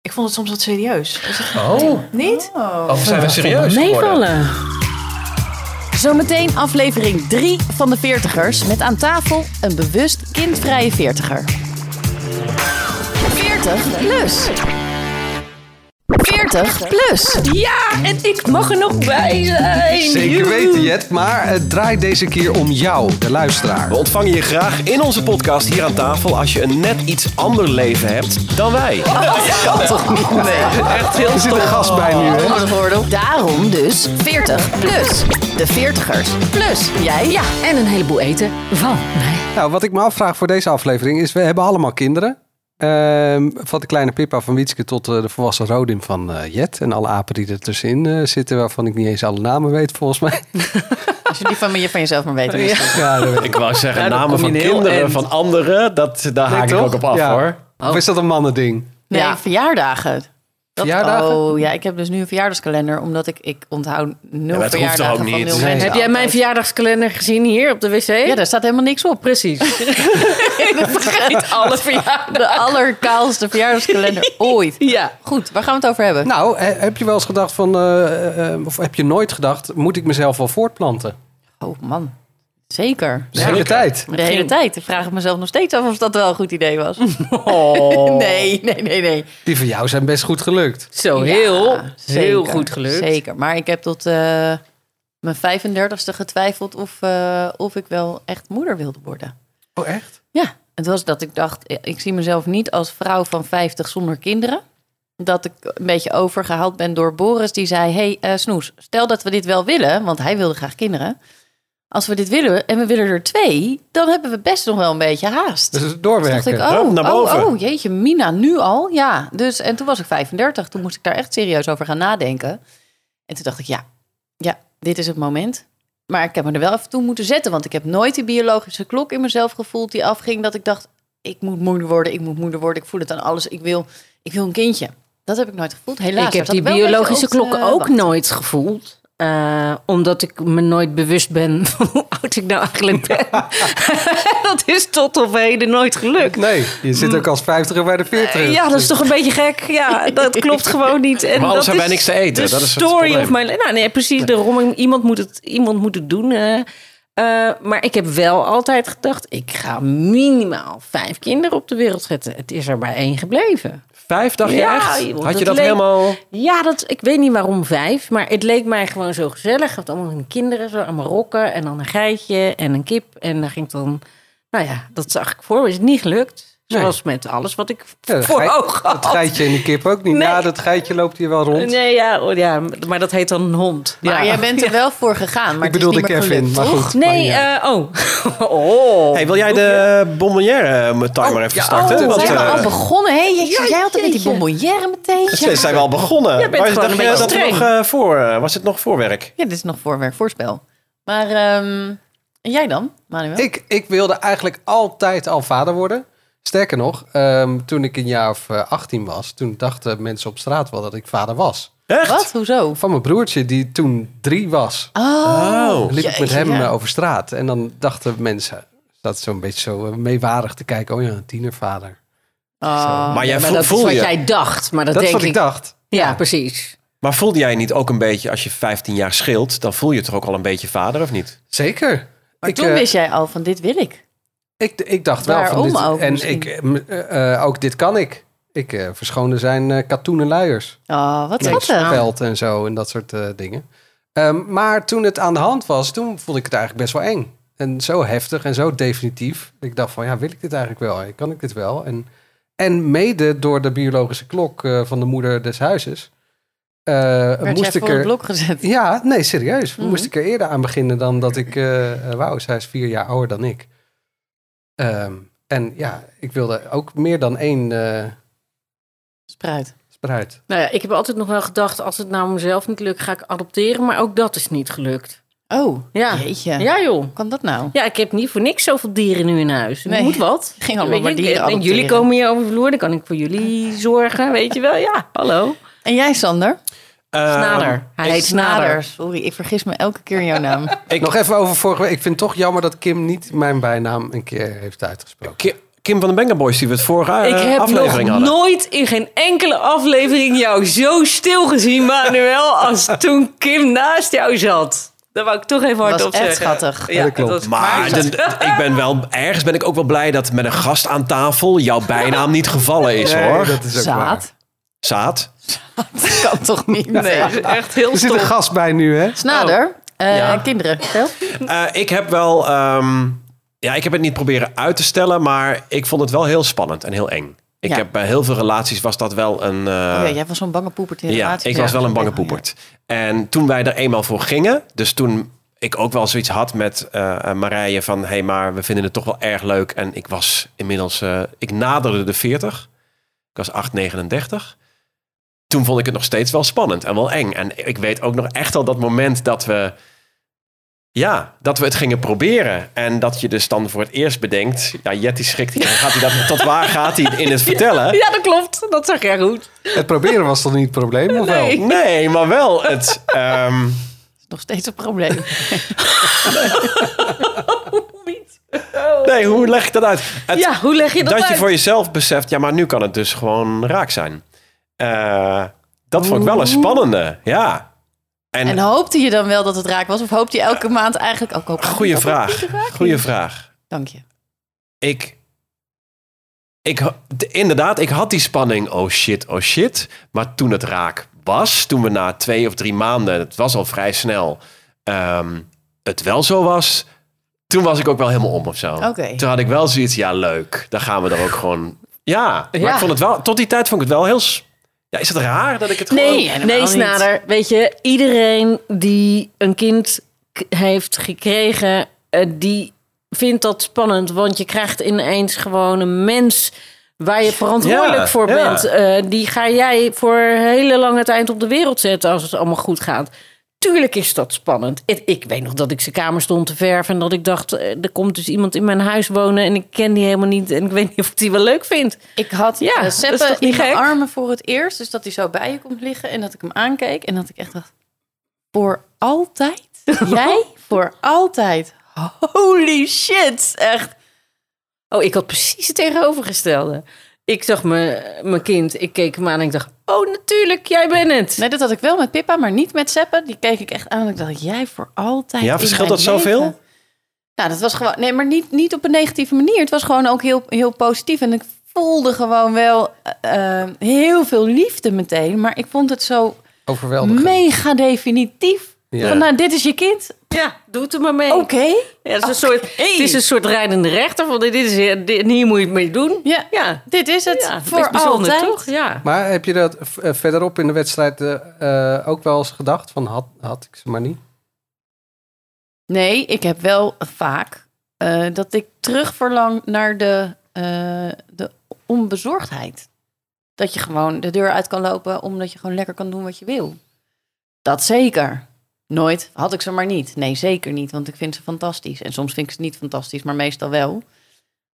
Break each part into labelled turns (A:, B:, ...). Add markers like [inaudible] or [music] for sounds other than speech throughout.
A: Ik vond het soms wat serieus. Was het
B: Oh,
A: niet?
B: of zijn we serieus geworden?
C: Meevallen.
D: Zometeen aflevering 3 van de Veertigers met aan tafel een bewust kindvrije veertiger. 40 plus. 40 plus.
C: Ja, en ik mag er nog bij zijn.
E: Zeker
C: Joehoe.
E: weten, Jet. Maar het draait deze keer om jou, de luisteraar.
B: We ontvangen je graag in onze podcast hier aan tafel als je een net iets ander leven hebt dan wij.
E: Echt heel Er zit een gast bij nu, hè?
D: Andere woorden, Daarom dus 40 plus. De Veertigers plus jij.
C: Ja, en een heleboel eten van mij.
E: Nou, wat ik me afvraag voor deze aflevering is... we hebben allemaal kinderen. Ehm, van de kleine Pippa van Wietske tot eh, de volwassen Rodin van eh, Jet. En alle apen die er tussenin eh, zitten... waarvan ik niet eens alle namen weet, volgens mij.
D: Als je die van, je van jezelf maar weet. Ja.
E: [laughs] Ja, dat weet ik.
B: Ik wou zeggen,
F: Ja, dan
B: namen
F: kom je
B: van
F: in heel
B: kinderen,
F: end.
B: van anderen, dat, daar haak ik
E: toch?
B: ook op af
E: Ja.
B: hoor.
E: Of is dat een mannending?
A: Nee,
D: Nee, verjaardagen. Dat,
E: Verjaardagen?
D: Oh ja, ik heb dus nu een verjaardagskalender omdat ik, ik onthoud nul
B: maar het hoeft toch
D: verjaardagen
B: ook
D: van nul
B: niet?
D: mensen.
E: Nee.
C: Heb jij mijn verjaardagskalender gezien hier op de wc?
D: Ja, daar staat helemaal niks op.
C: Precies. [laughs]
D: Vergeet alle verjaardagen. [laughs] De allerkaalste
C: [laughs]
D: verjaardagskalender ooit.
C: Ja.
D: Goed, waar gaan we het over hebben?
E: Nou, he- heb je wel eens gedacht van, eh, eh, of heb je nooit gedacht, moet ik mezelf wel voortplanten?
D: Oh man, zeker.
E: De hele tijd.
D: De hele tijd. Ik vraag ik mezelf nog steeds af of dat wel een goed idee
C: [laughs]
D: was.
C: Oh.
D: Nee, nee, nee, nee.
E: Die van jou zijn best goed gelukt.
C: Zo
D: Ja,
C: Oh, heel, heel
D: zeker,
C: goed gelukt.
D: Zeker. Maar ik heb tot eh, mijn 35ste getwijfeld of, eh, of ik wel echt moeder wilde worden.
E: Oh, echt?
D: Ja, het was dat ik dacht, eh, ik zie mezelf niet als vrouw van 50 zonder kinderen. Dat ik een beetje overgehaald ben door Boris, die zei: Hey eh, Snoes, stel dat we dit wel willen, want hij wilde graag kinderen. Als we dit willen en we willen er twee, dan hebben we best nog wel een beetje haast.
E: Dus het
D: Toen dacht
E: doorwerken.
D: ik,
B: Hup,
D: oh,
B: naar boven.
D: oh, oh, jeetje, Mina, nu al? Ja, dus, en toen was ik 35. Toen moest ik daar echt serieus over gaan nadenken. En toen dacht ik, ja, ja, dit is het moment. Maar ik heb me er wel even toe moeten zetten. Want ik heb nooit die biologische klok in mezelf gevoeld die afging. Dat ik dacht, ik moet moeder worden, ik moet moeder worden. Ik voel het aan alles. Ik wil, ik wil een kindje. Dat heb ik nooit gevoeld, helaas.
C: Ik heb
D: Daar
C: die
D: zat wel een
C: biologische
D: beetje op
C: klok
D: te
C: ook
D: wachten.
C: nooit gevoeld. Eh, omdat ik me nooit bewust ben [laughs] van hoe oud ik nou eigenlijk
B: [laughs]
C: ben. [laughs] dat is tot op heden nooit gelukt.
E: Nee, je zit ook als vijftiger bij de veertiger.
C: Ja, dat is toch een beetje gek. Ja, dat klopt gewoon niet. En
B: Maar anders
C: dat
B: hebben
C: is
B: wij niks te eten.
C: De
B: Dat is het
C: story
B: probleem.
C: of mijn Nou, nee, precies. Daarom iemand moet het, iemand moet het doen. eh. Eh, maar ik heb wel altijd gedacht: ik ga minimaal vijf kinderen op de wereld zetten. Het is er maar één gebleven.
B: Vijf
E: Oh,
B: dacht je
C: Ja,
B: echt?
C: joh,
B: Had
C: dat
B: je dat
C: leek-
B: helemaal...
C: Ja, dat, ik weet niet waarom vijf, maar het leek mij gewoon zo gezellig. Ik had allemaal hun kinderen, zo allemaal rokken en dan een geitje en een kip. En dan ging ik dan, nou ja, dat zag ik voor. me. Is het niet gelukt?
E: Nee.
C: Zoals met alles wat ik
E: Ja, dat
C: voor
E: geit-
C: ogen had.
E: Dat geitje en die kip ook niet.
C: Nee.
E: Ja, dat geitje loopt hier wel rond.
C: Nee, ja, oh, ja, maar dat heet dan een hond.
D: Maar jij bent er wel voor gegaan. Maar
E: ik bedoelde
D: het is niet meer
E: Kevin,
D: gelukt,
E: maar
D: toch?
E: goed. maakt
C: Nee,
E: niet uit.
C: eh, oh. [laughs] oh.
B: Hey, wil jij de bonbonnière eh, timer even starten?
C: oh,
B: Want,
D: Zijn we
B: eh,
D: al begonnen? Hé, jeetje, jij had het met die
C: jeetje.
D: bonbonnière meteen.
B: het is- zijn we al begonnen.
C: Jij bent
B: Maar
C: gewoon
B: dacht
C: een
B: je
C: beetje
B: dat er
C: streng.
B: nog, eh, voor, eh, was het nog voorwerk?
D: Ja, dit is nog voorwerk, voorspel. Maar ehm, en jij dan, Manuel?
E: Ik, ik wilde eigenlijk altijd al vader worden. Sterker nog, ehm, toen ik een jaar of eh, 18 was, toen dachten mensen op straat wel dat ik vader was.
B: Echt?
D: Wat? Hoezo?
E: Van mijn broertje, die toen drie was.
D: Oh,
B: Oh.
E: liep ik met
D: Jeetje,
E: hem
D: ja.
E: eh, over straat. En dan dachten mensen, dat zo'n beetje zo eh, meewarig te kijken. Oh ja, een tienervader.
B: Maar jij
C: maar
B: vo-
C: dat is
B: voel
C: wat
B: je...
C: jij dacht, maar dat,
E: dat is
C: denk
E: wat ik, dacht.
C: Ja, precies.
B: Maar voelde jij niet ook een beetje, als je 15 jaar scheelt, dan voel je toch ook al een beetje vader, of niet?
E: Zeker.
D: maar
E: ik,
D: toen
E: eh,
D: wist jij al van dit wil ik.
E: ik, ik dacht wel van
D: Waarom
E: dit.
D: ook
E: en
D: misschien?
E: ik, eh, m- eh, eh, ook dit kan ik. Ik eh verschoonde zijn eh, katoenen luiers.
D: Oh, wat
E: Met
D: schattig.
E: veld en zo en dat soort eh, dingen. Ehm, maar toen het aan de hand was, toen vond ik het eigenlijk best wel eng. En zo heftig en zo definitief. Ik dacht van, ja, wil ik dit eigenlijk wel? Kan ik dit wel? En, en mede door de biologische klok eh, van de moeder des huizes... eh,
D: Werd jij
E: moest ik
D: voor het
E: er...
D: blok gezet.
E: Ja, nee, serieus.
C: Mhm.
E: Moest ik er eerder aan beginnen dan dat ik... eh eh, wou, zij is vier jaar ouder dan ik. Ehm, en ja, ik wilde ook meer dan één eh
D: Spruit.
E: spruit.
C: Nou ja, ik heb altijd nog wel gedacht, als het nou mezelf niet lukt, ga ik adopteren. Maar ook dat is niet gelukt.
D: Oh,
C: Ja.
D: jeetje.
C: Ja, joh.
D: Hoe kan dat nou?
C: Ja, ik heb niet voor niks zoveel dieren nu in huis. Er
D: Nee.
C: moet wat.
D: Ik [laughs] ging allemaal maar
C: Weet je,
D: dieren
C: en
D: adopteren.
C: Jullie komen hier over de vloer, dan kan ik voor jullie
D: [laughs]
C: zorgen, weet je wel. Ja, hallo.
D: En jij, Sander?
B: Eh,
C: Snader. Hij heet Snader.
D: Sorry, ik vergis me elke keer in jouw naam.
E: Nog even over vorige week. Ik vind het toch jammer dat Kim niet mijn bijnaam een keer heeft uitgesproken.
B: Ki- Kim, Kim van de Banger Boys die we het vorige eh,
C: Ik heb
B: aflevering
C: nog
B: hadden.
C: nooit in geen enkele aflevering jou zo stil gezien,
D: [laughs]
C: Manuel, als toen Kim naast jou zat. Daar wou ik toch even hard
D: was
C: op
D: echt
C: zeggen.
D: schattig.
E: Ja, dat klopt.
C: was-
B: Maar de- ik ben wel, ergens ben ik ook wel blij dat met een gast aan tafel jouw bijnaam niet gevallen is
E: Nee,
B: hoor.
E: dat is ook waar.
D: Zaad.
B: Zaad.
D: [laughs] Dat kan toch niet?
C: Nee, dat is echt heel
E: Er zit een
C: stom.
E: gast bij nu, hè?
D: Snader. eh,
B: Ja.
D: Kinderen. Vertel.
B: Eh, ik heb wel, ehm, ja, ik heb het niet proberen uit te stellen, maar ik vond het wel heel spannend en heel eng. Ik
D: Ja.
B: heb bij heel veel relaties was dat wel een. eh,
D: Oh ja, jij was zo'n bange poepert in de
B: Ja,
D: relatie.
B: ik was wel een bange poepert. En toen wij er eenmaal voor gingen, dus toen ik ook wel zoiets had met eh, eh, Marije van... hé, hey, maar we vinden het toch wel erg leuk. En ik was inmiddels, eh, ik naderde de 40. Ik was 8,39. Toen vond ik het nog steeds wel spannend en wel eng. En ik weet ook nog echt al dat moment dat we... Ja, dat we het gingen proberen. En dat je dus dan voor het eerst bedenkt... Ja, Jetty schrikt hier. Gaat hij dat, tot waar gaat hij in het vertellen?
C: Ja, dat klopt. Dat zag jij goed.
E: Het proberen was toch niet het probleem, of wel?
C: Nee.
B: Nee, maar wel het... ehm,
D: Nog steeds een probleem.
B: Nee, hoe leg ik dat uit? Het-
C: Ja, hoe leg je dat,
B: dat je
C: uit?
B: voor jezelf beseft, ja, maar nu kan het dus gewoon raak zijn. Eh, dat vond ik wel een spannende, ja. En,
D: En hoopte je dan wel dat het raak was? Of hoopte je elke maand eigenlijk... Oh, ook hoop
B: goede vraag, goede vraag.
D: Dank je.
B: Ik, ik, ha- de- inderdaad, ik had die spanning, oh shit, oh shit. Maar toen het raak was, toen we na twee of drie maanden, het was al vrij snel, ehm, het wel zo was, toen was ik ook wel helemaal om of zo.
D: Oké.
B: Toen had ik wel zoiets, ja leuk, dan gaan we er ook gewoon... Ja, maar
D: Ja.
B: ik vond het wel, tot die tijd vond ik het wel heel... s- Ja, is het raar dat ik het gewoon...
D: helemaal
C: Nee, nee,
D: niet.
C: Snader. Weet je, iedereen die een kind k- heeft gekregen, eh, die vindt dat spannend. Want je krijgt ineens gewoon een mens waar je verantwoordelijk
B: Ja,
C: voor
B: ja.
C: bent. Eh, die ga jij voor hele lange tijd op de wereld zetten als het allemaal goed gaat. Tuurlijk is dat spannend. Het- Ik weet nog dat ik zijn kamer stond te verven en dat ik dacht, eh, er komt dus iemand in mijn huis wonen en ik ken die helemaal niet en ik weet niet of ik die wel leuk vind.
D: Ik had
C: Ja,
D: ja,
C: dat is
D: Seppe
C: toch niet
D: in mijn
C: gek?
D: armen voor het eerst. Dus dat hij zo bij je komt liggen. En dat ik hem aankeek. En dat ik echt dacht... Voor
C: [laughs]
D: altijd? Jij? voor altijd? Holy shit. Echt.
C: Oh, ik had precies het tegenovergestelde. Ik zag me- mijn kind, ik keek hem aan en ik dacht... Oh, natuurlijk, jij bent het.
D: Nee, dat had ik wel met Pippa, maar niet met Seppe. Die keek ik echt aan en ik dacht, jij voor altijd
B: Ja,
D: in
B: verschilt
D: mijn
B: dat zoveel?
D: leven. Nou, dat was gewoon... Nee, maar niet, niet op een negatieve manier. Het was gewoon ook heel, heel positief. En ik voelde gewoon wel eh, eh, heel veel liefde meteen. Maar ik vond het zo
E: Overweldigend.
D: mega definitief.
E: Ja.
D: Van, nou, dit is je kind.
C: Ja, doe het er maar mee.
D: Oké.
C: Ja, het, is een soort, het is een soort rijdende rechter. Van, dit is, dit, hier moet je het mee doen.
D: Ja,
C: Ja,
D: dit is het.
C: ja,
D: voor
C: best bijzonder,
D: altijd.
C: toch? Ja.
E: Maar heb je dat v- eh, verderop in de wedstrijd eh, eh, ook wel eens gedacht? Van had, had ik ze maar niet?
D: Nee, ik heb wel vaak eh, dat ik terug verlang naar de, eh, de onbezorgdheid. Dat je gewoon de deur uit kan lopen omdat je gewoon lekker kan doen wat je wil. Dat zeker. Nooit had ik ze maar niet. Nee, zeker niet, want ik vind ze fantastisch. En soms vind ik ze niet fantastisch, maar meestal wel.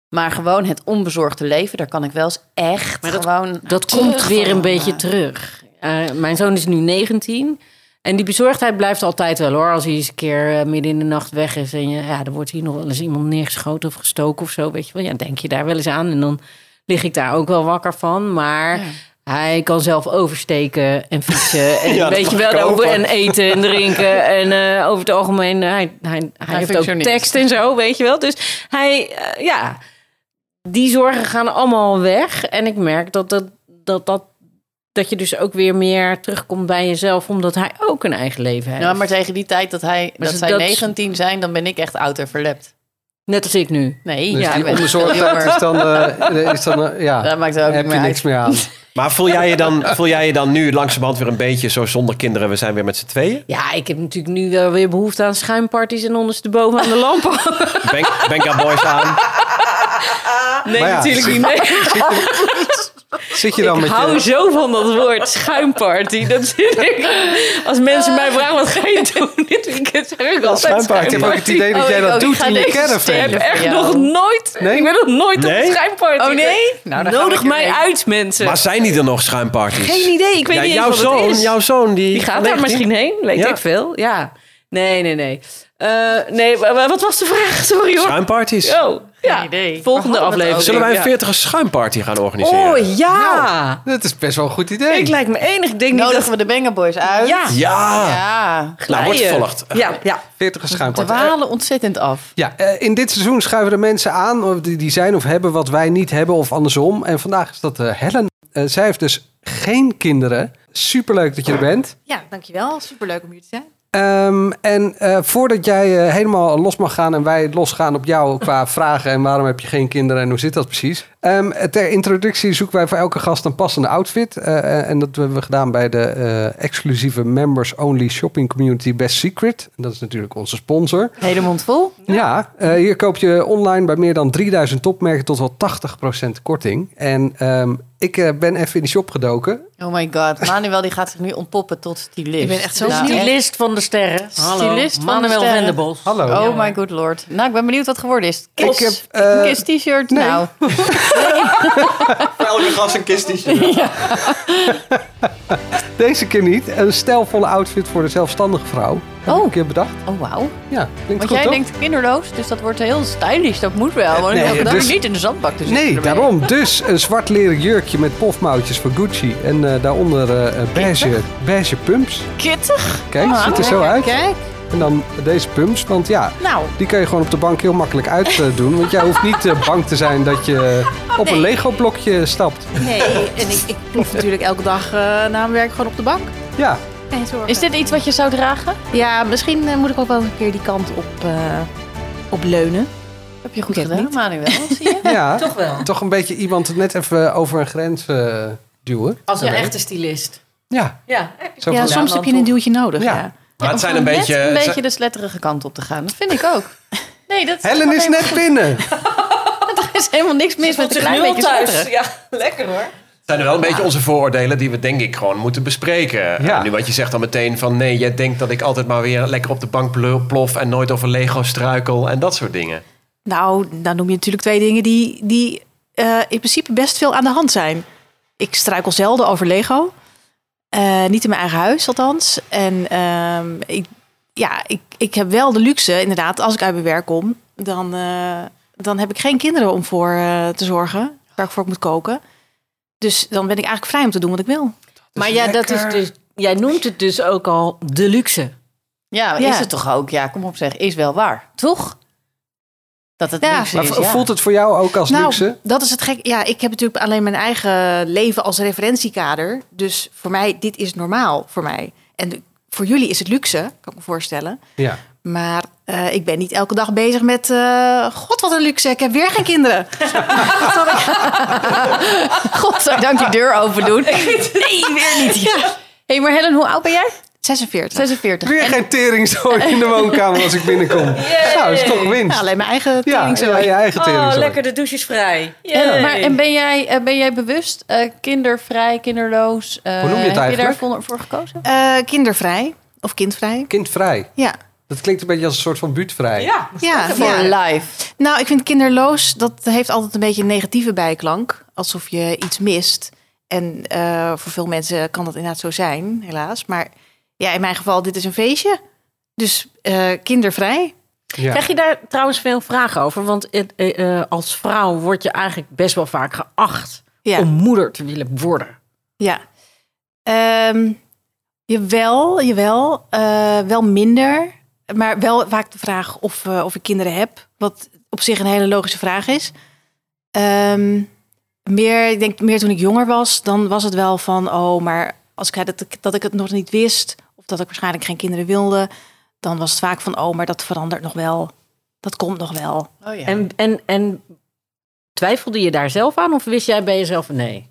D: Maar gewoon het onbezorgde leven, daar kan ik wel eens echt
C: Maar dat-
D: gewoon...
C: Dat
D: terug
C: komt weer een
D: verlangen.
C: beetje terug. Eh, mijn zoon is nu 19. En die bezorgdheid blijft altijd wel hoor. Als hij eens een keer eh, midden in de nacht weg is. En je, ja, er wordt hier nog wel eens iemand neergeschoten of gestoken of zo. Weet je wel. Ja, denk je daar wel eens aan. En dan lig ik daar ook wel wakker van. Maar hij kan zelf oversteken en
B: [laughs]
C: fietsen. En
B: Ja, dat
C: weet je
B: mag
C: wel.
B: ik
C: en over-
B: hopen.
C: en eten en
B: [laughs]
C: drinken. En eh, over het algemeen, eh, hij, hij, hij heeft ook
D: functioneert.
C: tekst en zo, weet je wel. Dus hij, eh, ja, die zorgen gaan allemaal weg. En ik merk dat dat, dat, dat, dat je dus ook weer meer terugkomt bij jezelf, omdat hij ook een eigen leven heeft.
D: Ja, maar tegen die tijd dat, hij, dat
C: ze-
D: zij
C: dat-
D: 19 zijn, dan ben ik echt oud en verlept.
C: Net als ik nu.
D: Nee,
E: Dus
D: ja,
E: die
D: ik ben veel
E: onbezorgdheid
D: jonger.
E: is dan... eh, is dan eh, ja,
D: Dat maakt ook niet
E: heb
D: meer
E: je
D: uit.
E: niks meer aan.
B: Maar voel jij, je dan, voel jij je dan nu langzamerhand weer een beetje zo zonder kinderen? We zijn weer met z'n tweeën.
C: Ja, ik heb natuurlijk nu wel weer behoefte aan schuimparties en ondersteboven aan de lampen.
B: Ben, Benga Boys aan.
C: Nee,
E: Maar ja,
C: natuurlijk niet. Nee.
E: Zit je dan
C: Ik
E: met
C: hou
E: je...
C: zo van dat woord schuimparty. Dat zit ik. Als mensen mij vragen wat ga je doen [laughs] dit weekend, zeg ik altijd
B: schuimparty.
C: schuimparty.
E: Ik heb ook het idee dat
D: Oh,
E: jij
D: ik
E: dat
D: ook. Ik
E: doet
D: ga
E: in je
D: deze
E: caravan.
D: sterren.
C: Ik heb echt
D: Ja.
C: nog nooit.
E: Nee?
C: Ik ben nog nooit op
B: Nee?
C: een schuimparty.
D: Oh, nee? Nou, dan gaan
C: Nodig
D: we
C: mij
D: erheen.
C: uit, mensen.
B: Maar zijn die er nog schuimparties?
C: Geen idee. Ik weet
B: Ja,
C: niet eens
B: jouw
C: wat het
B: zoon,
C: is.
B: jouw zoon die,
C: Die gaat daar
B: 19.
C: misschien heen. Weet
B: Ja.
C: ik veel. Ja. Nee, nee, nee. Eh, nee, wa- wa- wat was de vraag? [laughs] Sorry hoor.
B: Schuimparties.
C: Oh,
D: Ja, volgende
C: idee. Waar hadden we het
D: aflevering.
B: Zullen wij
D: ja.
B: een 40 schuimparty gaan organiseren?
C: Oh ja!
E: Dat is best wel een goed idee.
C: Ik lijkt me enig. Ik denk niet
D: Nodigen
C: Nou. dat...
D: we de Banger Boys uit?
C: Ja.
E: Ah.
B: Ja.
D: Ja.
B: Nou, wordt
C: Gleien.
B: vervolgd.
C: Ja, ja.
E: 40 schuimpartij.
D: Dwalen ontzettend af.
E: Ja, eh, in dit seizoen schuiven de mensen aan of die, die zijn of hebben wat wij niet hebben of andersom. En vandaag is dat eh, Helen. Eh, zij heeft dus geen kinderen. Superleuk dat je er bent.
A: Ja, dankjewel. Superleuk om hier te zijn.
E: Ehm, en eh, voordat jij eh, helemaal los mag gaan en wij losgaan op jou
A: [laughs]
E: qua vragen en waarom heb je geen kinderen en hoe zit dat precies? Ehm, ter introductie zoeken wij voor elke gast een passende outfit. Eh, en dat hebben we gedaan bij de eh, exclusieve members only shopping community Best Secret. En dat is natuurlijk onze sponsor.
D: Hele mond vol.
E: Ja, eh, hier koop je online bij meer dan 3000 topmerken tot wel 80% korting. En ehm, ik eh, ben even in die shop gedoken.
D: Oh my god. Manuel die gaat zich nu ontpoppen tot stylist.
A: Ik ben echt zo
D: Nou,
A: benieuwd.
C: Stylist van de sterren. Hallo.
D: Stylist van de
C: Manuel
D: sterren.
C: Venderbos.
E: Hallo.
D: Oh my good lord. Nou, ik ben benieuwd wat het geworden is.
E: ik
D: Kiss,
E: heb eh,
D: kiss t-shirt.
E: nee.
D: Nou,
B: Elke gast een kist
E: deze keer niet een stijlvolle outfit voor de zelfstandige vrouw. Heb
D: Oh.
E: ik een keer bedacht.
D: oh wauw.
E: Ja, klinkt
D: Want
E: goed,
D: jij
E: toch?
D: denkt kinderloos, dus dat wordt heel stylish. Dat moet wel. Want
E: nee,
D: nee, dat
E: dus-
D: niet in de zandbak te zitten
E: Nee,
D: ermee.
E: daarom. Dus een zwart leren jurkje met pofmouwtjes van Gucci. En eh, daaronder eh, eh, beige, beige pumps.
D: Kittig.
E: Kijk,
D: Ah,
E: ziet er zo
D: lekker,
E: uit.
D: Kijk.
E: En dan deze pumps, want ja...
D: Nou,
E: Die kan je gewoon op de bank heel makkelijk uitdoen. Want jij hoeft niet eh, bang te zijn dat je op een
A: Nee.
E: Lego-blokje stapt.
A: Nee, en ik, ik plof natuurlijk elke dag eh, na mijn werk gewoon op de bank.
E: Ja,
A: Geen zorgen.
D: is dit iets wat je zou dragen?
A: Ja, misschien eh, moet ik ook wel een keer die kant op, eh, op leunen.
D: Heb je goed
A: Ik weet het
D: gedaan,
A: niet.
D: Manuel. Zie je?
E: ja.
C: Toch wel.
E: Toch een beetje iemand net even over een grens eh, duwen.
C: Als een
E: Oké.
C: echte stylist.
E: Ja,
C: Ja.
E: zo
A: ja,
E: van-
C: gedaan,
A: soms heb je
C: dan
A: een duwtje nodig.
E: Ja.
A: Ja.
B: Maar het
D: Om
B: zijn
D: gewoon
B: een
D: net
B: beetje...
E: eh,
D: een beetje
B: ze-
D: de sletterige kant op te gaan. Dat vind ik
E: [laughs]
D: ook. Nee, dat
E: Helen is
D: helemaal-
E: net binnen.
D: Er is helemaal niks mis met een klein beetje sletterig.
C: Ja, lekker hoor.
B: zijn er wel een beetje onze vooroordelen die we denk ik gewoon moeten bespreken.
E: Ja.
B: Eh, nu wat je zegt dan meteen van nee, jij denkt dat ik altijd maar weer lekker op de bank pl- plof en nooit over Lego struikel en dat soort dingen.
A: Nou, dan noem je natuurlijk twee dingen die, die eh, in principe best veel aan de hand zijn. Ik struikel zelden over Lego. Eh, niet in mijn eigen huis, althans. En ehm, ik, ja, ik, ik heb wel de luxe, inderdaad, als ik uit mijn werk kom, dan, eh, dan heb ik geen kinderen om voor eh, te zorgen, waar ik voor moet koken. Dus dan ben ik eigenlijk vrij om te doen wat ik wil.
C: Maar ja, dat is dus, jij noemt het dus ook al de [laughs] luxe.
D: Ja, maar
A: Ja.
D: is het toch ook? Ja, kom op zeg. Is wel waar. Toch? Dat het
A: Ja.
D: luxe
E: Maar
D: is,
E: v-
D: ja. [laughs]
E: voelt het voor jou ook als
A: nou,
E: luxe?
A: dat is het gek. Ja, ik heb natuurlijk alleen mijn eigen leven als referentiekader. Dus voor mij, dit is normaal voor mij. En de- voor jullie is het luxe, kan ik me voorstellen.
E: Ja.
A: Maar eh, ik ben niet elke dag bezig met... eh, God, wat een luxe, ik heb weer geen kinderen.
D: Godzijdank die deur open
E: [laughs]
D: doen. Nee, weer niet.
C: Oh,
D: Ja. hey, maar Helen, hoe oud ben jij?
A: 46.
D: 46.
E: Weer geen teringzooi in de woonkamer als ik binnenkom. Nou, dat is toch
A: Ja,
E: winst.
A: alleen mijn eigen
E: Ja,
A: teringzooi.
E: ja, je eigen
C: Oh,
E: teringzooi.
C: lekker, de douche is vrij.
D: En, maar, en ben jij, eh, ben jij bewust eh, kindervrij, kinderloos? eh,
E: Hoe noem je het
D: Heb je
E: eigenlijk?
D: daarvoor voor gekozen?
A: Eh, kindervrij of kindvrij.
E: Kindvrij.
A: Ja,
E: Dat klinkt een beetje als een soort van buurtvrij.
C: Ja.
A: ja,
E: Eh,
D: Voor
A: ja.
D: life.
A: Nou, ik vind kinderloos, dat heeft altijd een beetje een negatieve bijklank. Alsof je iets mist. En eh, voor veel mensen kan dat inderdaad zo zijn, helaas. Maar ja, in mijn geval, dit is een feestje. Dus eh, kindervrij.
E: Ja.
C: Krijg je daar trouwens veel vragen over? Want het, eh, eh, als vrouw word je eigenlijk best wel vaak geacht
A: Ja.
C: om moeder te willen worden.
A: Ja. Ehm, jawel, jawel. Eh, wel minder. Maar wel vaak de vraag of, eh, of ik kinderen heb. Wat op zich een hele logische vraag is. Ehm, meer, ik denk meer toen ik jonger was, dan was het wel van... oh, maar als ik, dat, ik- dat ik het nog niet wist... of dat ik waarschijnlijk geen kinderen wilde... dan was het vaak van, oh, maar dat verandert nog wel. Dat komt nog wel.
D: Oh ja.
C: En, en, en twijfelde je daar zelf aan of wist jij bij jezelf nee?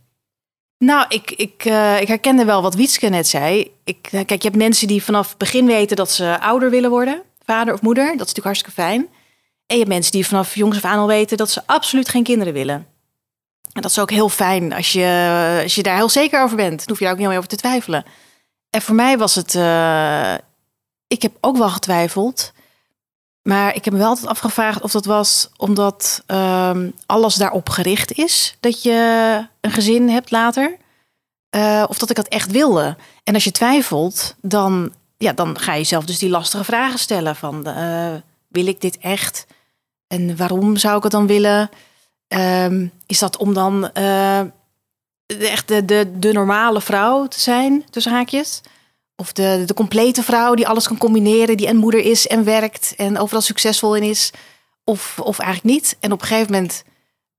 A: Nou, ik, ik, eh, ik herkende wel wat Wietske net zei. Ik, eh, kijk, je hebt mensen die vanaf het begin weten dat ze ouder willen worden. Vader of moeder. Dat is natuurlijk hartstikke fijn. En je hebt mensen die vanaf jongs af aan al weten dat ze absoluut geen kinderen willen. En dat is ook heel fijn als je, als je daar heel zeker over bent. Dan hoef je daar ook niet meer over te twijfelen. En voor mij was het... eh, ik heb ook wel getwijfeld. Maar ik heb me wel altijd afgevraagd of dat was omdat ehm, alles daarop gericht is. Dat je een gezin hebt later. Eh, of dat ik dat echt wilde. En als je twijfelt, dan, ja, dan ga je zelf dus die lastige vragen stellen. Van, eh, wil ik dit echt? En waarom zou ik het dan willen? Ehm, is dat om dan eh, de- echt de, de, de normale vrouw te zijn, tussen haakjes? Of de, de complete vrouw die alles kan combineren, die en moeder is en werkt en overal succesvol in is? Of, of eigenlijk niet? En op een gegeven moment,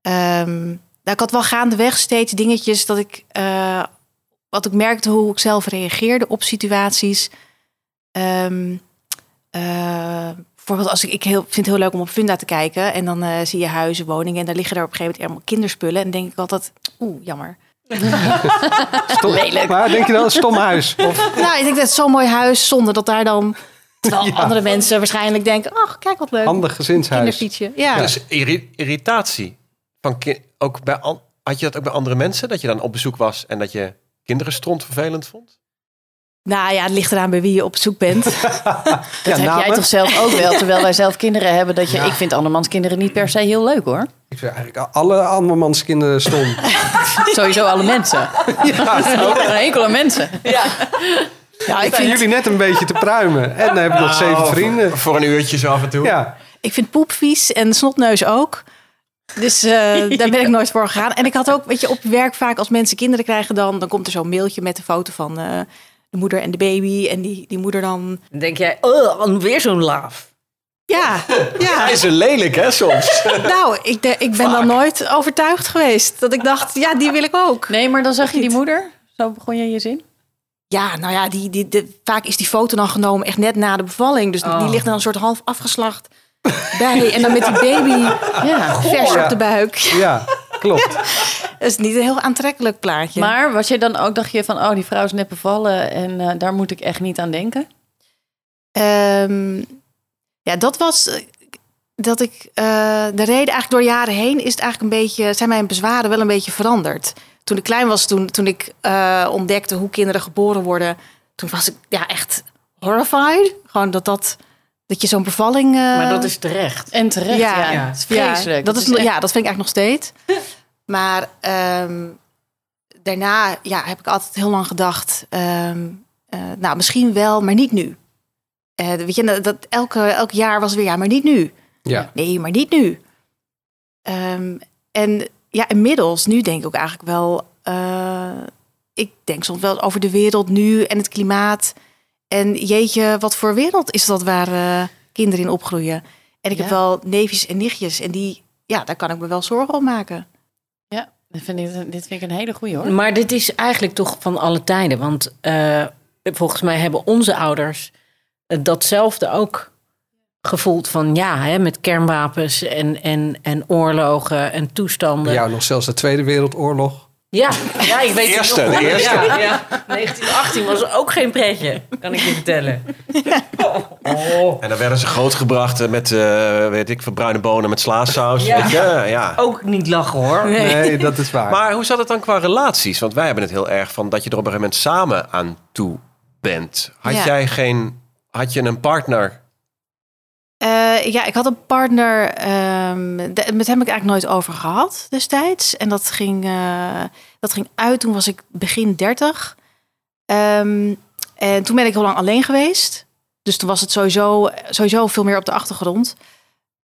A: ehm, nou, ik had wel gaandeweg steeds dingetjes dat ik, eh, wat ik merkte hoe ik zelf reageerde op situaties. Ehm, eh, bijvoorbeeld als ik, ik heel, vind het heel leuk om op Funda te kijken. En dan eh, zie je huizen, woningen. En daar liggen daar op een gegeven moment allemaal kinderspullen. En dan denk ik altijd, oeh, jammer.
E: Stom, Maar denk je dan, stom huis? Of,
A: nou, ik denk dat is zo'n mooi huis zonder dat daar dan... [laughs] Terwijl andere mensen waarschijnlijk denken, ach, kijk wat leuk.
E: handig gezinshuis.
A: Kinderfietsje. Ja.
B: Dus irri- irritatie. Van ki- ook bij an- had je dat ook bij andere mensen? Dat je dan op bezoek was en dat je kinderen stront vervelend vond?
A: Nou ja, het ligt eraan bij wie je op zoek [laughs] bent.
E: Ja,
D: Dat heb jij
E: namen?
D: toch zelf ook wel, terwijl wij zelf kinderen hebben. Dat je, Ik vind andermans kinderen niet per se heel leuk hoor.
E: Ik vind eigenlijk alle andermans kinderen stom.
D: Sowieso alle
E: [laughs]
D: mensen. [laughs] Ja, een hekel aan mensen.
A: Ja,
E: Zijn
A: ik, vind,
E: jullie net een beetje te pruimen. En dan heb ik nog zeven vrienden.
B: Oh, Voor, voor een uurtje zo af en toe.
E: Ja,
A: ik vind poep vies en snotneus ook. Dus eh, [laughs] daar ben ik nooit voor gegaan. En ik had ook, weet je, op werk vaak als mensen kinderen krijgen dan... dan komt er zo'n mailtje met de foto van eh, de moeder en de baby. En die, die moeder dan...
C: Dan denk jij, oh, weer zo'n laaf.
A: [laughs] Ja, ja.
B: Hij is er lelijk, hè, [laughs] soms.
A: Nou, ik, de- ik ben dan nooit overtuigd geweest. Dat ik dacht, ja, die wil ik ook.
D: Nee, maar dan zag je die moeder. Zo begon je je zin.
A: Ja, nou ja, die, die, de- vaak is die foto dan genomen echt net na de bevalling. Dus
C: Oh.
A: die ligt dan een soort half afgeslacht bij. En dan met die baby
E: Ah,
D: Ja.
A: vers
E: Ja.
A: op de buik. [laughs]
E: ja, klopt.
A: Dat is niet een heel aantrekkelijk plaatje.
D: Maar was je dan ook, dacht je van, oh, die vrouw is net bevallen en eh, daar moet ik echt niet aan denken?
A: Ehm, ja, dat was eh, dat ik eh, de reden eigenlijk door jaren heen is het eigenlijk een beetje zijn mijn bezwaren wel een beetje veranderd. Toen ik klein was, toen, toen ik eh, ontdekte hoe kinderen geboren worden, toen was ik ja echt horrified. Gewoon dat dat dat je zo'n bevalling. eh,
C: Maar dat is terecht.
D: En terecht, ja.
A: Ja.
C: Ja.
D: Het is vreselijk.
A: ja, dat is,
D: Het echt-
A: ja, dat vind ik eigenlijk nog steeds. maar ehm, daarna ja, heb ik altijd heel lang gedacht... ehm, eh, nou, misschien wel, maar niet nu. Eh, weet je, dat, dat elke, elk jaar was weer, ja, maar niet nu.
E: Ja.
A: Nee, maar niet nu. Ehm, en ja, inmiddels, nu denk ik ook eigenlijk wel... eh, ik denk soms wel over de wereld nu en het klimaat. En jeetje, wat voor wereld is dat waar eh, kinderen in opgroeien? En ik heb
D: Ja.
A: wel neefjes en nichtjes. En die, ja, daar kan ik me wel zorgen om maken.
D: Ja, dat vind ik, dit vind ik een hele goeie hoor.
C: Maar dit is eigenlijk toch van alle tijden. Want eh, volgens mij hebben onze ouders eh, datzelfde ook gevoeld van ja, hè, met kernwapens en, en, en oorlogen en toestanden.
E: Bij jou nog zelfs de Tweede Wereldoorlog.
C: Ja, ja ik weet
B: Eerste,
C: het nog.
B: de eerste.
C: Ja, ja. 1918 was ook geen pretje, kan ik je [laughs] vertellen. Oh.
B: En dan werden ze grootgebracht eh, met, eh, weet ik, van bruine bonen met slaasaus.
C: Ja.
B: Weet je? ja. Oh,
C: Ook niet lachen hoor.
E: Nee, dat is waar.
B: Maar hoe zat het dan qua relaties? Want wij hebben het heel erg van dat je er op een gegeven moment samen aan toe bent. Had
A: Ja.
B: jij geen... Had je een partner?
A: Eh, ja, ik had een partner. ehm, de- met hem heb ik eigenlijk nooit over gehad destijds. En dat ging, eh, dat ging uit toen was ik begin 30. Ehm, en toen ben ik heel lang alleen geweest. Dus toen was het sowieso, sowieso veel meer op de achtergrond.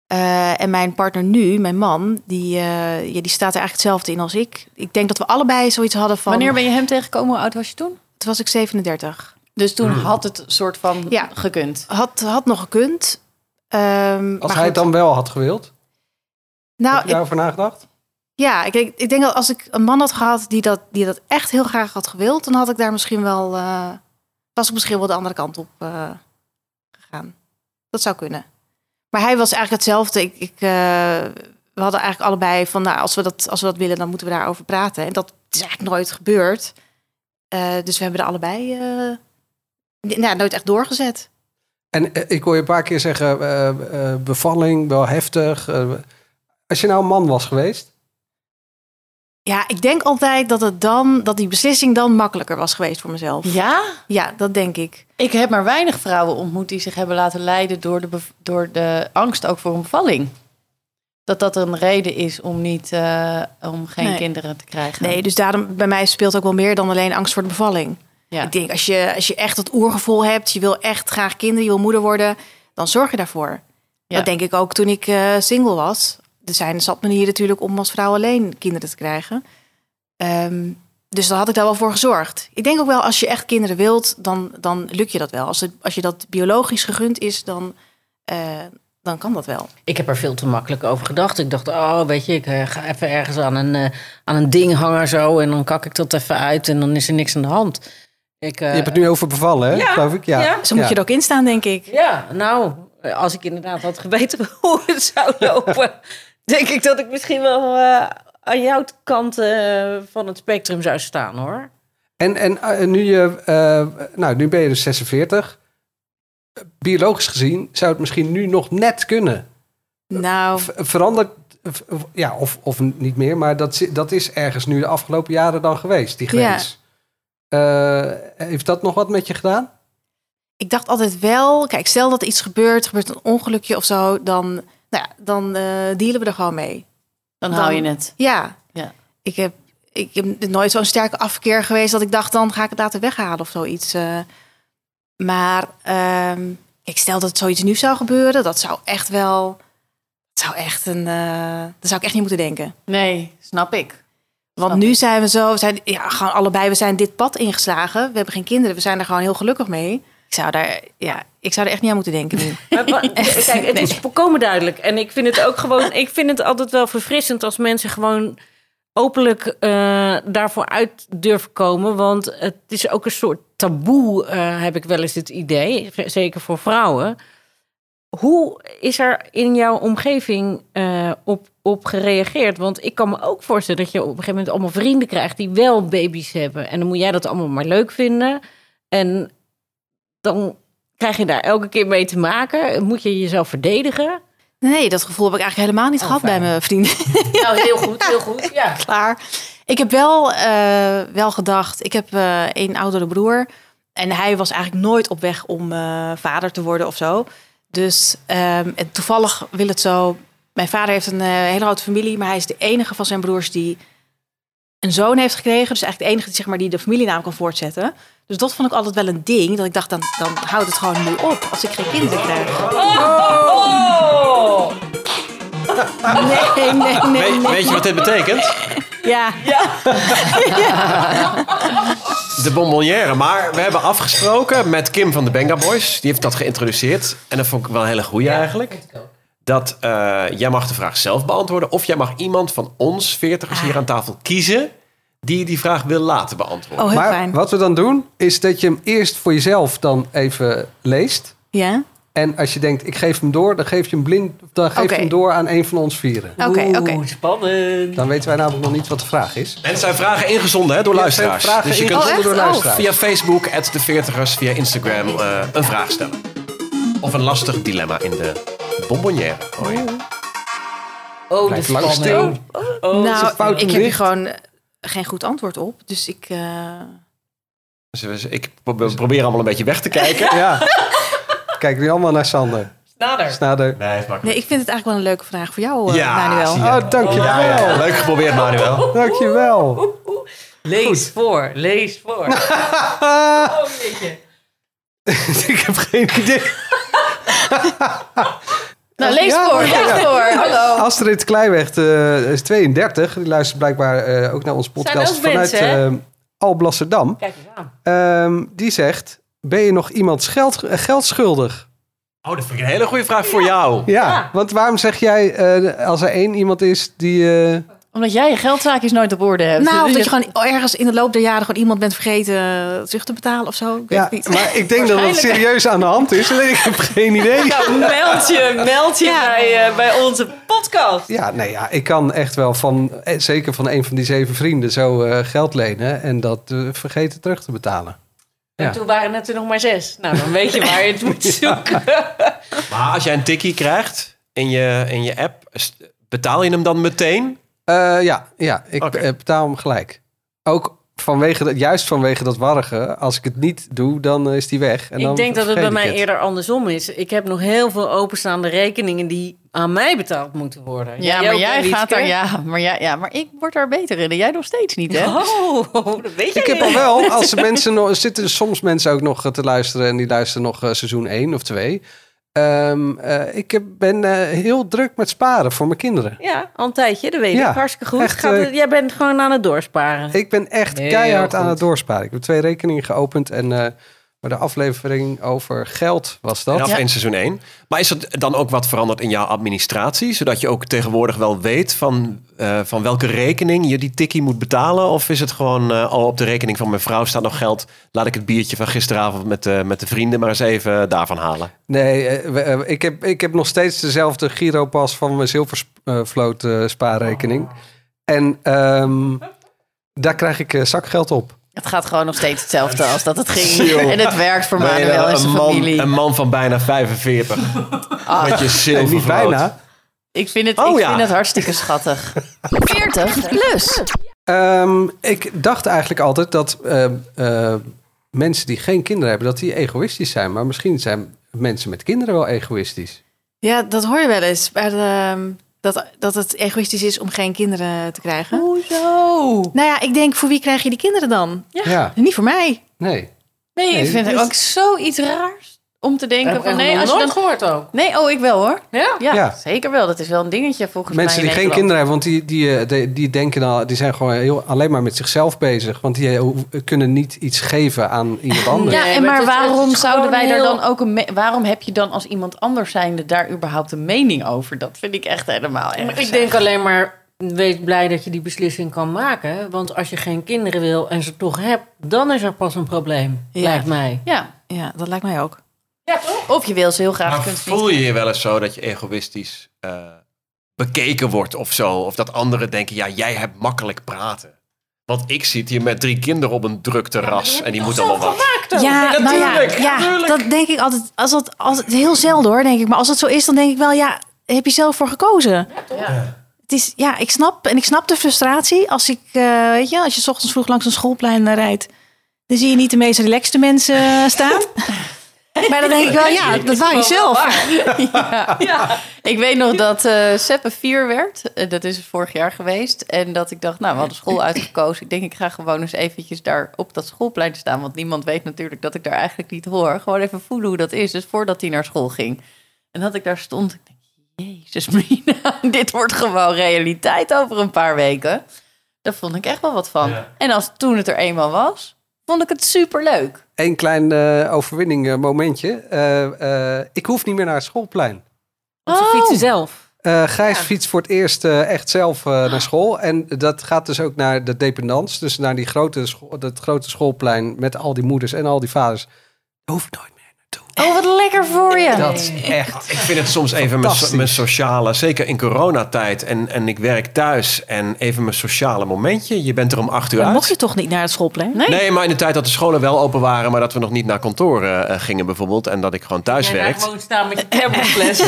A: Eh, en mijn partner nu, mijn man, die, eh, ja, die staat er eigenlijk hetzelfde in als ik. Ik denk dat we allebei zoiets hadden van...
D: Wanneer ben je hem tegengekomen? Hoe oud was je toen?
A: Toen was ik 37.
D: Dus toen
E: Hmm.
D: had het soort van
A: Ja.
D: gekund.
A: Had, had nog gekund. Ehm, maar
E: Als hij
A: goed.
E: het dan wel had gewild,
A: Nou,
E: heb je
A: ik-
E: daarover nagedacht?
A: Ja, ik denk, ik denk dat als ik een man had gehad die dat, die dat echt heel graag had gewild, dan had ik daar misschien wel, eh, was ik misschien wel de andere kant op eh, gegaan. Dat zou kunnen. Maar hij was eigenlijk hetzelfde. Ik, ik, eh, we hadden eigenlijk allebei van, nou, als we, dat, als we dat willen, dan moeten we daarover praten. En dat is eigenlijk nooit gebeurd. Eh, dus we hebben er allebei eh, n- nou, nooit echt doorgezet.
E: En eh, ik hoor je een paar keer zeggen, eh, eh, bevalling, wel heftig. eh. als je nou een man was geweest,
A: Ja, ik denk altijd dat, het dan, dat die beslissing dan makkelijker was geweest voor mezelf.
D: Ja?
A: Ja, dat denk ik.
D: Ik heb maar weinig vrouwen ontmoet die zich hebben laten leiden door de, bev- door de angst ook voor een bevalling. Dat dat een reden is om, niet, eh, om geen
A: Nee.
D: kinderen te krijgen.
A: Nee, dus daarom bij mij speelt ook wel meer dan alleen angst voor de bevalling.
D: Ja.
A: Ik denk, als je, als je echt dat oergevoel hebt, je wil echt graag kinderen, je wil moeder worden, dan zorg je daarvoor.
D: Ja.
A: Dat denk ik ook toen ik eh, single was. Er zijn zat manieren natuurlijk om als vrouw alleen kinderen te krijgen. Ehm, dus daar had ik daar wel voor gezorgd. Ik denk ook wel, als je echt kinderen wilt, dan, dan lukt je dat wel. Als, het, als je dat biologisch gegund is, dan, eh, dan kan dat wel.
C: Ik heb er veel te makkelijk over gedacht. Ik dacht, oh, weet je, ik eh, ga even ergens aan een, eh, aan een ding hangen zo. En dan kak ik dat even uit en dan is er niks aan de hand. Ik, eh,
E: Je hebt het nu over bevallen, hè?
C: ja,
E: geloof ik. Ja.
C: ja.
A: Zo moet
E: Ja.
A: je er ook in staan, denk ik.
C: Ja, nou, als ik inderdaad had geweten [laughs] hoe het zou lopen, denk ik dat ik misschien wel eh, aan jouw kant eh, van het spectrum zou staan hoor.
E: En, en eh, nu, je, eh, nou, nu ben je dus 46. Biologisch gezien zou het misschien nu nog net kunnen.
A: Nou,
E: V- Verandert, v- ja, of, of niet meer, maar dat, zi- dat is ergens nu de afgelopen jaren dan geweest, die
A: Ja.
E: grens. Eh, heeft dat nog wat met je gedaan?
A: ik dacht altijd wel, kijk, stel dat er iets gebeurt, gebeurt een ongelukje of zo, dan, nou ja, dan eh, dealen we er gewoon mee.
D: Dan,
A: Dan-
D: hou je het.
A: Ja.
D: Ja.
A: Ik heb, ik heb nooit zo'n sterke afkeer geweest dat ik dacht, dan ga ik het laten weghalen of zoiets. eh. maar ehm, ik stel dat zoiets nu zou gebeuren, dat zou echt wel, dat zou echt een, eh daar zou ik echt niet moeten denken.
D: Nee, snap ik.
A: Want
D: Snap
A: nu zijn we zo, we zijn ja, gewoon allebei, we zijn dit pad ingeslagen. We hebben geen kinderen, we zijn er gewoon heel gelukkig mee. Ik zou daar, ja, ik zou er echt niet aan moeten denken nu.
C: Maar wa- Kijk, het is volkomen duidelijk. En ik vind het ook gewoon, ik vind het altijd wel verfrissend als mensen gewoon openlijk eh, daarvoor uit durven komen. Want het is ook een soort taboe, eh, heb ik wel eens het idee. v- Zeker voor vrouwen. Hoe is er in jouw omgeving eh, op, op gereageerd? Want ik kan me ook voorstellen dat je op een gegeven moment allemaal vrienden krijgt die wel baby's hebben. En dan moet jij dat allemaal maar leuk vinden. En dan krijg je daar elke keer mee te maken. Moet je jezelf verdedigen?
A: Nee, dat gevoel heb ik eigenlijk helemaal niet
C: Oh,
A: gehad
C: fijn.
A: bij mijn vrienden.
C: Nou, heel goed, heel goed. Ja.
A: klaar. Ik heb wel, eh, wel gedacht, ik heb eh een oudere broer. En hij was eigenlijk nooit op weg om eh, vader te worden of zo. Dus ehm, en toevallig wil het zo. Mijn vader heeft een eh, hele grote familie, maar hij is de enige van zijn broers die een zoon heeft gekregen. Dus eigenlijk de enige die, zeg maar, die de familienaam kan voortzetten. Dus dat vond ik altijd wel een ding. Dat ik dacht, dan, dan houdt het gewoon nu op als ik geen kinderen krijg. Nee, nee, nee.
B: We- weet je wat dit betekent?
A: Ja,
B: De bonbonnière. Maar we hebben afgesproken met Kim van de Benga Boys. Die heeft dat geïntroduceerd. En dat vond ik wel een hele goeie eigenlijk. Dat eh, jij mag de vraag zelf beantwoorden. Of jij mag iemand van ons, veertigers
A: Ah.
B: hier aan tafel, kiezen... die die vraag wil laten beantwoorden.
A: oh, heel
E: maar
A: fijn.
E: wat we dan doen, is dat je hem eerst voor jezelf dan even leest.
A: Ja?
E: En als je denkt, ik geef hem door, dan geef je hem, blind, dan geef je
A: Oké.
E: hem door aan een van ons vieren.
A: Oké, oké.
C: spannend.
E: Dan weten wij namelijk nog niet wat de vraag is.
B: En het zijn vragen ingezonden hè, door
E: Ja, het zijn
B: luisteraars.
E: vragen
B: dus je kunt
E: ingezonden
A: Oh, echt?
E: door
A: Oh.
E: luisteraars.
B: via Facebook, at de veertigers, via Instagram eh, een vraag stellen. Of een lastig dilemma in de bonbonnière. Oh, ja.
C: Oh, de
E: Blijf lang
C: spanning.
E: stil.
C: Oh,
E: het fout
A: nou, ik heb hier
E: licht?
A: gewoon eh, geen goed antwoord op. Dus ik. eh,
B: Dus, dus ik pro- probeer allemaal een beetje weg te kijken.
E: Ja. Kijk nu allemaal naar Sander.
C: nader.
E: Snader.
B: Nee, is makkelijk.
A: Nee, ik vind het eigenlijk wel een leuke vraag voor jou, eh, Manuel.
B: zie je.
E: Oh, dankjewel.
B: Ja, ja, ja. Leuk geprobeerd, Manuel.
E: Dankjewel.
C: Lees voor, lees
E: [laughs]
C: voor.
E: Ah,
C: Oh, jeetje.
B: [laughs]
E: ik heb geen idee.
D: Nou, lees
E: Ja,
D: voor,
E: ja,
D: lees
E: ja.
D: voor. [laughs] Hallo.
E: Astrid Kleiweg eh, is 32. Die luistert blijkbaar eh, ook naar ons podcast
C: ook
E: vanuit
C: mensen, hè?
E: eh, Alblasserdam.
C: Kijk eens aan.
E: Ehm, die zegt, ben je nog iemand geld, eh, geld schuldig?
B: Oh, dat vind ik een hele goede vraag voor jou.
E: Ja,
C: Ja.
E: want waarom zeg jij eh, als er één iemand is die... eh,
D: Omdat jij je geldzaakjes nooit op orde hebt.
A: Nou, of dat je
D: Dus
A: gewoon ergens in de loop der jaren gewoon iemand bent vergeten eh, terug te betalen of zo. Ik weet
E: ja,
A: het niet.
E: maar ik denk dat het serieus aan de hand is. Alleen ik heb geen idee.
C: Nou, meld je, meld je bij, eh, bij onze podcast.
E: Ja, nee, ja, ik kan echt wel van, eh, zeker van een van die zeven vrienden, zo eh, geld lenen en dat eh, vergeten terug te betalen. Ja.
C: En toen waren het er nog maar zes. Nou, dan weet je waar je het
E: [laughs]
C: moet zoeken.
B: Maar als jij een tikkie krijgt in je, in je app, is- betaal je hem dan meteen?
E: Eh, ja, ja, ik
B: Oké.
E: eh, betaal hem gelijk. Ook vanwege dat, juist vanwege dat warrige, als ik het niet doe, dan eh, is die weg. En dan
C: ik denk dat het bij
E: vergeet
C: mij
E: ik
C: eerder andersom is. Ik heb nog heel veel openstaande rekeningen die aan mij betaald moeten worden.
D: Ja,
C: ook,
D: maar jij
C: Wietske?
D: gaat daar, ja, maar ja, ja, maar ik word daar beter in en jij nog steeds niet, hè?
C: Oh, dat weet je
E: Ik heb al wel, als er mensen nog, er zitten soms mensen ook nog eh, te luisteren en die luisteren nog eh, seizoen 1 of 2. Ehm, eh, ik heb, ben eh, heel druk met sparen voor mijn kinderen.
C: Ja, al een tijdje, dat weet
E: Ja,
C: ik. Hartstikke goed.
E: echt,
C: Gaat het-
E: eh,
C: jij bent gewoon aan het doorsparen.
E: Ik ben echt
D: Heel
E: keihard aan
D: goed.
E: het doorsparen. Ik heb twee rekeningen geopend en eh, maar de aflevering over geld was dat.
B: Vanaf
D: Ja.
B: één seizoen 1. Maar is er dan ook wat veranderd in jouw administratie? Zodat je ook tegenwoordig wel weet van, eh, van welke rekening je die tikkie moet betalen? Of is het gewoon, eh oh, op de rekening van mijn vrouw staat nog geld. Laat ik het biertje van gisteravond met, eh, met de vrienden maar eens even daarvan halen.
E: Nee, eh, we- eh, ik, heb, ik heb nog steeds dezelfde Giropas van mijn zilvervloot eh, spaarrekening. En ehm, daar krijg ik eh, zakgeld op.
D: Het gaat gewoon nog steeds hetzelfde als dat het ging.
B: Chill.
D: En het werkt voor
B: Ben je
D: Manuel
B: wel
D: en zijn
B: een, man,
D: familie.
B: een man van bijna 45.
D: Ah,
B: Met je
E: Nee,
B: zilver
E: niet bijna.
D: ik vind het,
B: Oh
D: ik
B: ja.
D: vind het hartstikke
E: [laughs]
D: schattig. 40 plus.
E: Ehm, ik dacht eigenlijk altijd dat eh, eh, mensen die geen kinderen hebben, dat die egoïstisch zijn. Maar misschien zijn mensen met kinderen wel egoïstisch.
A: Ja, dat hoor je wel eens. Maar, ehm, dat, dat het egoïstisch is om geen kinderen te krijgen.
D: Hoezo?
A: Nou ja, ik denk, voor wie krijg je die kinderen dan?
E: Ja.
A: Niet voor mij.
E: nee.
D: Nee,
E: Nee,
D: ik vind het
E: dus-
D: ook zoiets raars om te denken van... Nee, als je
C: nooit
D: dan...
C: gehoord ook.
D: nee, oh, ik wel hoor.
C: Ja?
D: Ja,
E: Ja.
D: zeker wel. Dat is wel een dingetje volgens
E: Mensen die
D: mij. in
E: geen
D: Nederland.
E: kinderen hebben, want die, die, eh, die, die denken dan, die zijn gewoon heel, alleen maar met zichzelf bezig. Want die eh, hoe- kunnen niet iets geven aan
D: [laughs]
E: iemand anders.
D: Ja,
C: Nee,
D: en
C: maar
D: maar
C: het is- het
D: waarom
C: is
D: zouden
C: gewoon
D: wij daar
C: heel-
D: dan ook een... me- Waarom heb je dan als iemand anders zijnde daar überhaupt een mening over? Dat vind ik echt helemaal erg.
C: Ik denk alleen maar, wees blij dat je die beslissing kan maken. Want als je geen kinderen wil en ze toch hebt, dan is er pas een probleem,
A: Ja.
C: lijkt mij.
D: Ja.
A: Ja, dat lijkt mij ook.
D: Of je wil ze heel graag
B: Maar
D: kunt
B: voel je je wel eens zo dat je egoïstisch eh, bekeken wordt of zo? Of dat anderen denken, ja, jij hebt makkelijk praten. Want ik zit hier met drie kinderen op een druk terras en die moeten allemaal wat.
A: Ja, nou ja,
B: natuurlijk,
A: ja,
B: natuurlijk.
A: dat denk ik altijd. Als dat, als, het- heel zelden hoor, denk ik. Maar als het zo is, dan denk ik wel, ja, heb je zelf voor gekozen. Het is, ja, ik snap en ik snap de frustratie als ik, eh, weet je, als je 's ochtends vroeg langs een schoolplein eh, rijdt, dan zie je niet de meest relaxte mensen eh, staan. [laughs] maar dan denk ik wel, ja, dat wou je zelf.
D: ja. Ik weet nog dat eh Seppe 4 werd. Eh, dat is vorig jaar geweest. En dat ik dacht, nou, we hadden school uitgekozen. Ik denk, ik ga gewoon eens eventjes daar op dat schoolplein staan. Want niemand weet natuurlijk dat ik daar eigenlijk niet hoor. Gewoon even voelen hoe dat is. Dus voordat hij naar school ging. En dat ik daar stond, ik denk, jezus [laughs] Mina, dit wordt gewoon realiteit over een paar weken. Daar vond ik echt wel wat van. En als toen het er eenmaal was, vond ik het superleuk.
E: Eén klein eh, overwinning eh, momentje. Eh, eh, ik hoef niet meer naar het schoolplein.
C: Want ze fietsen zelf.
E: Eh, Gijs fietst voor het eerst eh, echt zelf eh, naar school. En dat gaat dus ook naar de dependance. Dus naar die grote scho- dat grote schoolplein met al die moeders en al die vaders. Daar hoef ik nooit meer naartoe.
A: Oh, wat lekker voor je.
E: Dat is echt...
B: Ik vind het soms even mijn,
E: Fantastisch.
B: mijn sociale, zeker in coronatijd en, en ik werk thuis en even mijn sociale momentje. Je bent er om acht uur
A: Dan
B: uit.
A: mocht je toch niet naar het schoolplein?
B: Nee, maar in de tijd dat de scholen wel open waren, maar dat we nog niet naar kantoor eh, gingen bijvoorbeeld en dat ik gewoon thuis
C: Jij gaat
B: werkte.
C: gewoon staan [laughs] met je thermosfles.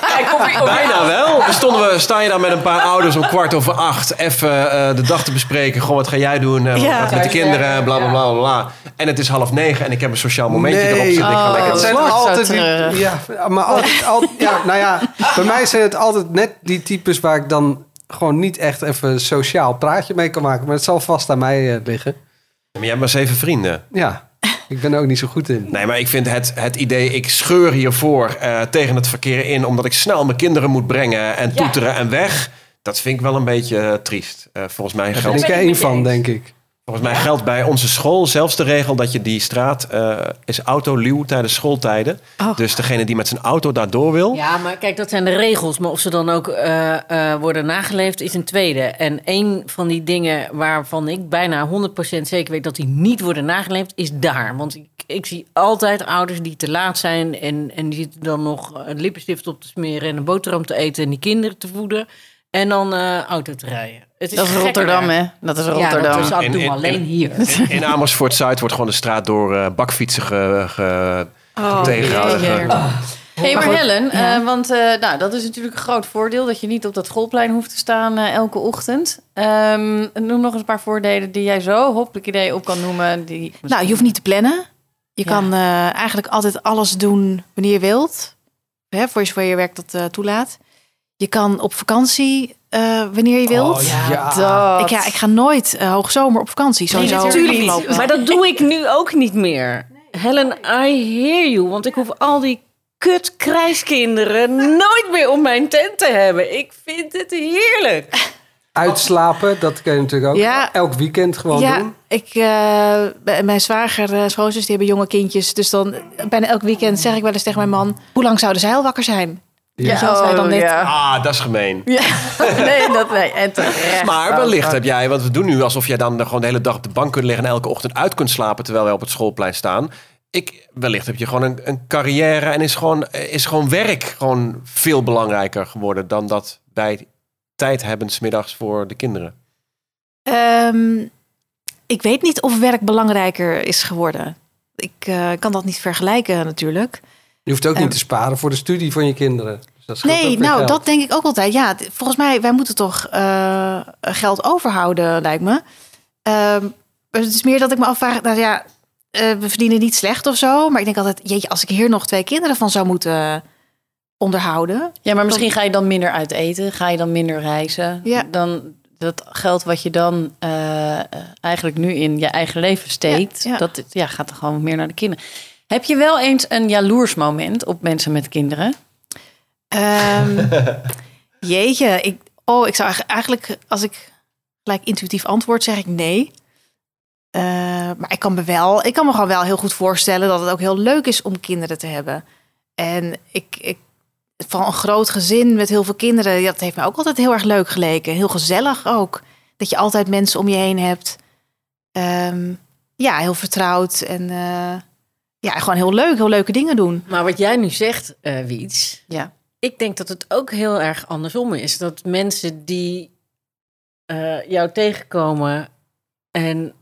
C: Kijk of je- of je
B: Bijna wel. Dan stonden we, sta je daar met een paar ouders om kwart over acht even eh, de dag te bespreken. Goh, wat ga jij doen? Eh, wat
A: Ja.
B: gaat met de kinderen? Bla, bla, bla, bla, bla. En het is half negen en ik heb een sociaal momentje erop zitten. Ik ga
D: Oh.
B: lekker...
E: het zijn
D: dat wordt zo
E: altijd die,
D: treurig.
E: ja, maar altijd, al, ja, nou ja, bij mij zijn het altijd net die types waar ik dan gewoon niet echt even een sociaal praatje mee kan maken. Maar het zal vast aan mij eh, liggen.
B: Maar jij hebt maar zeven vrienden.
E: Ja, ik ben er ook niet zo goed in.
B: Nee, maar ik vind het, het idee, ik scheur hiervoor eh, tegen het verkeer in... omdat ik snel mijn kinderen moet brengen en toeteren en weg... Dat vind ik wel een beetje eh, triest. Eh, volgens, mij
E: Daar ben
B: geldt,
E: ik er één van, denk ik.
B: volgens mij geldt bij onze school zelfs de regel dat je die straat eh is autoluw tijdens schooltijden.
A: Oh.
B: Dus degene die met zijn auto daardoor wil,
C: Ja, maar kijk, dat zijn de regels. Maar of ze dan ook eh, eh, worden nageleefd, is een tweede. En een van die dingen waarvan ik bijna 100% zeker weet dat die niet worden nageleefd, is daar. Want ik, ik zie altijd ouders die te laat zijn en, en die zitten dan nog een lippenstift op te smeren en een boterham te eten en die kinderen te voeden. En dan eh, auto te rijden. Het
D: Dat is
C: gek
D: Rotterdam,
C: daar.
D: hè? Dat is
C: Ja,
D: Rotterdam.
C: dat is, ah,
B: In-
C: doe
B: in-
C: maar alleen
B: in-
C: hier.
B: In, in Amersfoort Zuid wordt gewoon de straat door eh, bakfietsen ge, ge- tegengehouden.
D: Hey, maar
A: goed,
D: Helen,
A: ja.
D: eh, want eh, nou, dat is natuurlijk een groot voordeel... dat je niet op dat schoolplein hoeft te staan eh, elke ochtend. Ehm, noem nog eens een paar voordelen die jij zo hoppelijk idee op kan noemen. Die...
A: Nou, je hoeft niet te plannen. Je
D: Ja.
A: kan eh, eigenlijk altijd alles doen wanneer je wilt. Hè, voor zover je werk dat eh, toelaat. Je kan op vakantie eh, wanneer
E: Oh,
A: je wilt.
D: dat...
A: Ik, ja, ik ga nooit eh, hoogzomer op vakantie. Sowieso.
C: natuurlijk
A: afgelopen.
C: niet. Maar dat doe ik nu ook niet meer. Helen, I hear you. Want ik hoef al die kut krijskinderen nooit meer om mijn tent te hebben. Ik vind het heerlijk.
E: Uitslapen, dat kun je natuurlijk ook
A: Ja.
E: elk weekend gewoon
A: Ja,
E: doen.
A: ik, eh, bij- mijn zwager, eh schoonzus, die hebben jonge kindjes. Dus dan eh, bijna elk weekend zeg ik wel eens tegen mijn man... hoe lang zouden zij al wakker zijn?
E: Ja.
A: Zoals hij dan net- [laughs]
B: Ah, dat is gemeen.
D: nee, dat nee. En terecht.
B: Maar wellicht heb jij, want we doen nu alsof jij dan gewoon de hele dag op de bank kunt liggen en elke ochtend uit kunt slapen terwijl wij op het schoolplein staan. Ik, wellicht heb je gewoon een, een carrière en is gewoon, is gewoon werk gewoon veel belangrijker geworden dan dat wij tijd hebben 's middags voor de kinderen.
A: Ehm, ik weet niet of werk belangrijker is geworden. Ik eh, kan dat niet vergelijken natuurlijk.
E: Je hoeft ook
A: Ehm.
E: niet te sparen voor de studie van je kinderen. Dus dat scheelt ook
A: Nee,
E: weer
A: nou,
E: geld.
A: dat denk ik ook altijd. Ja, d- volgens mij, wij moeten toch eh, geld overhouden, lijkt me. Ehm, maar het is meer dat ik me afvraag, nou ja, eh, we verdienen niet slecht of zo. Maar ik denk altijd, jeetje, als ik hier nog twee kinderen van zou moeten eh, onderhouden.
D: Ja, maar misschien ga je dan minder uit eten, ga je dan minder reizen.
A: Ja.
D: Dan dat geld wat je dan eh, eh, eigenlijk nu in je eigen leven steekt,
A: Ja, ja.
D: dat ja, gaat dan gewoon meer naar de kinderen. Heb je wel eens een jaloers moment op mensen met kinderen?
A: Ehm, jeetje, ik, oh, ik zou eigenlijk- eigenlijk, als ik gelijk intuïtief antwoord, zeg ik nee. Eh, maar ik kan, me wel, ik kan me gewoon wel heel goed voorstellen dat het ook heel leuk is om kinderen te hebben. En ik, ik, van een groot gezin met heel veel kinderen, ja, dat heeft me ook altijd heel erg leuk geleken. Heel gezellig ook. Dat je altijd mensen om je heen hebt. Ehm, ja, heel vertrouwd en eh, ja, gewoon heel leuk, heel leuke dingen doen.
C: Maar wat jij nu zegt, eh Wiets,
D: Ja.
C: ik denk dat het ook heel erg andersom is. Dat mensen die eh, jou tegenkomen en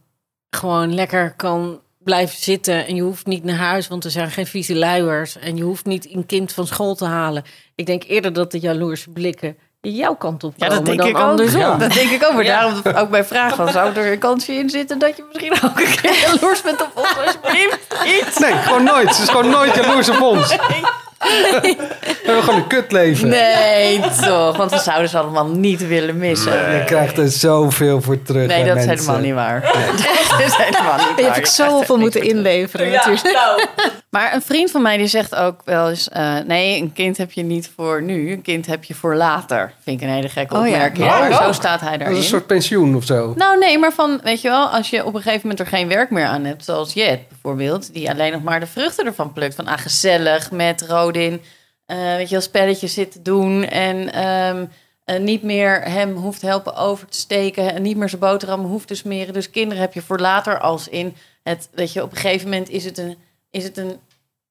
C: gewoon lekker kan blijven zitten. En je hoeft niet naar huis, want er zijn geen vieze luiers. En je hoeft niet een kind van school te halen. Ik denk eerder dat de jaloerse blikken jouw kant op komen dan andersom.
E: Ja.
D: Dat denk ik ook. Maar
C: Ja.
D: daarom ook mijn vraag van, zou er een kansje in zitten dat je misschien ook een keer jaloers bent op ons, alsjeblieft? Niet.
E: Nee, gewoon nooit. Ze is gewoon nooit jaloers op
D: [laughs]
E: ons. We hebben gewoon een kutleven.
D: Nee, toch. Want we zouden ze allemaal niet willen missen.
E: Je krijgt er zoveel voor terug.
D: Nee,
E: hè,
D: dat
E: mensen.
D: is helemaal niet waar. [laughs] dat is helemaal niet waar.
A: Daar heb ik
D: Je krijgt echt
A: zoveel moeten
D: niks voor
A: inleveren natuurlijk.
D: Maar een vriend van mij die zegt ook wel eens... eh, nee, een kind heb je niet voor nu, een kind heb je voor later. Vind ik een hele gekke
A: Oh ja.
D: opmerking.
E: Ja,
D: maar
E: ook.
D: zo staat hij
E: Dat is
D: daarin.
E: een soort pensioen of zo.
D: Nou nee, maar van, weet je wel, als je op een gegeven moment er geen werk meer aan hebt... zoals Jet bijvoorbeeld, die alleen nog maar de vruchten ervan plukt. Van, ah, gezellig, met Rodin, eh, weet je wel, spelletjes zitten doen... en ehm, eh, niet meer hem hoeft helpen over te steken... en niet meer zijn boterham hoeft te smeren. Dus kinderen heb je voor later als in het... weet je, op een gegeven moment is het een... Is het een,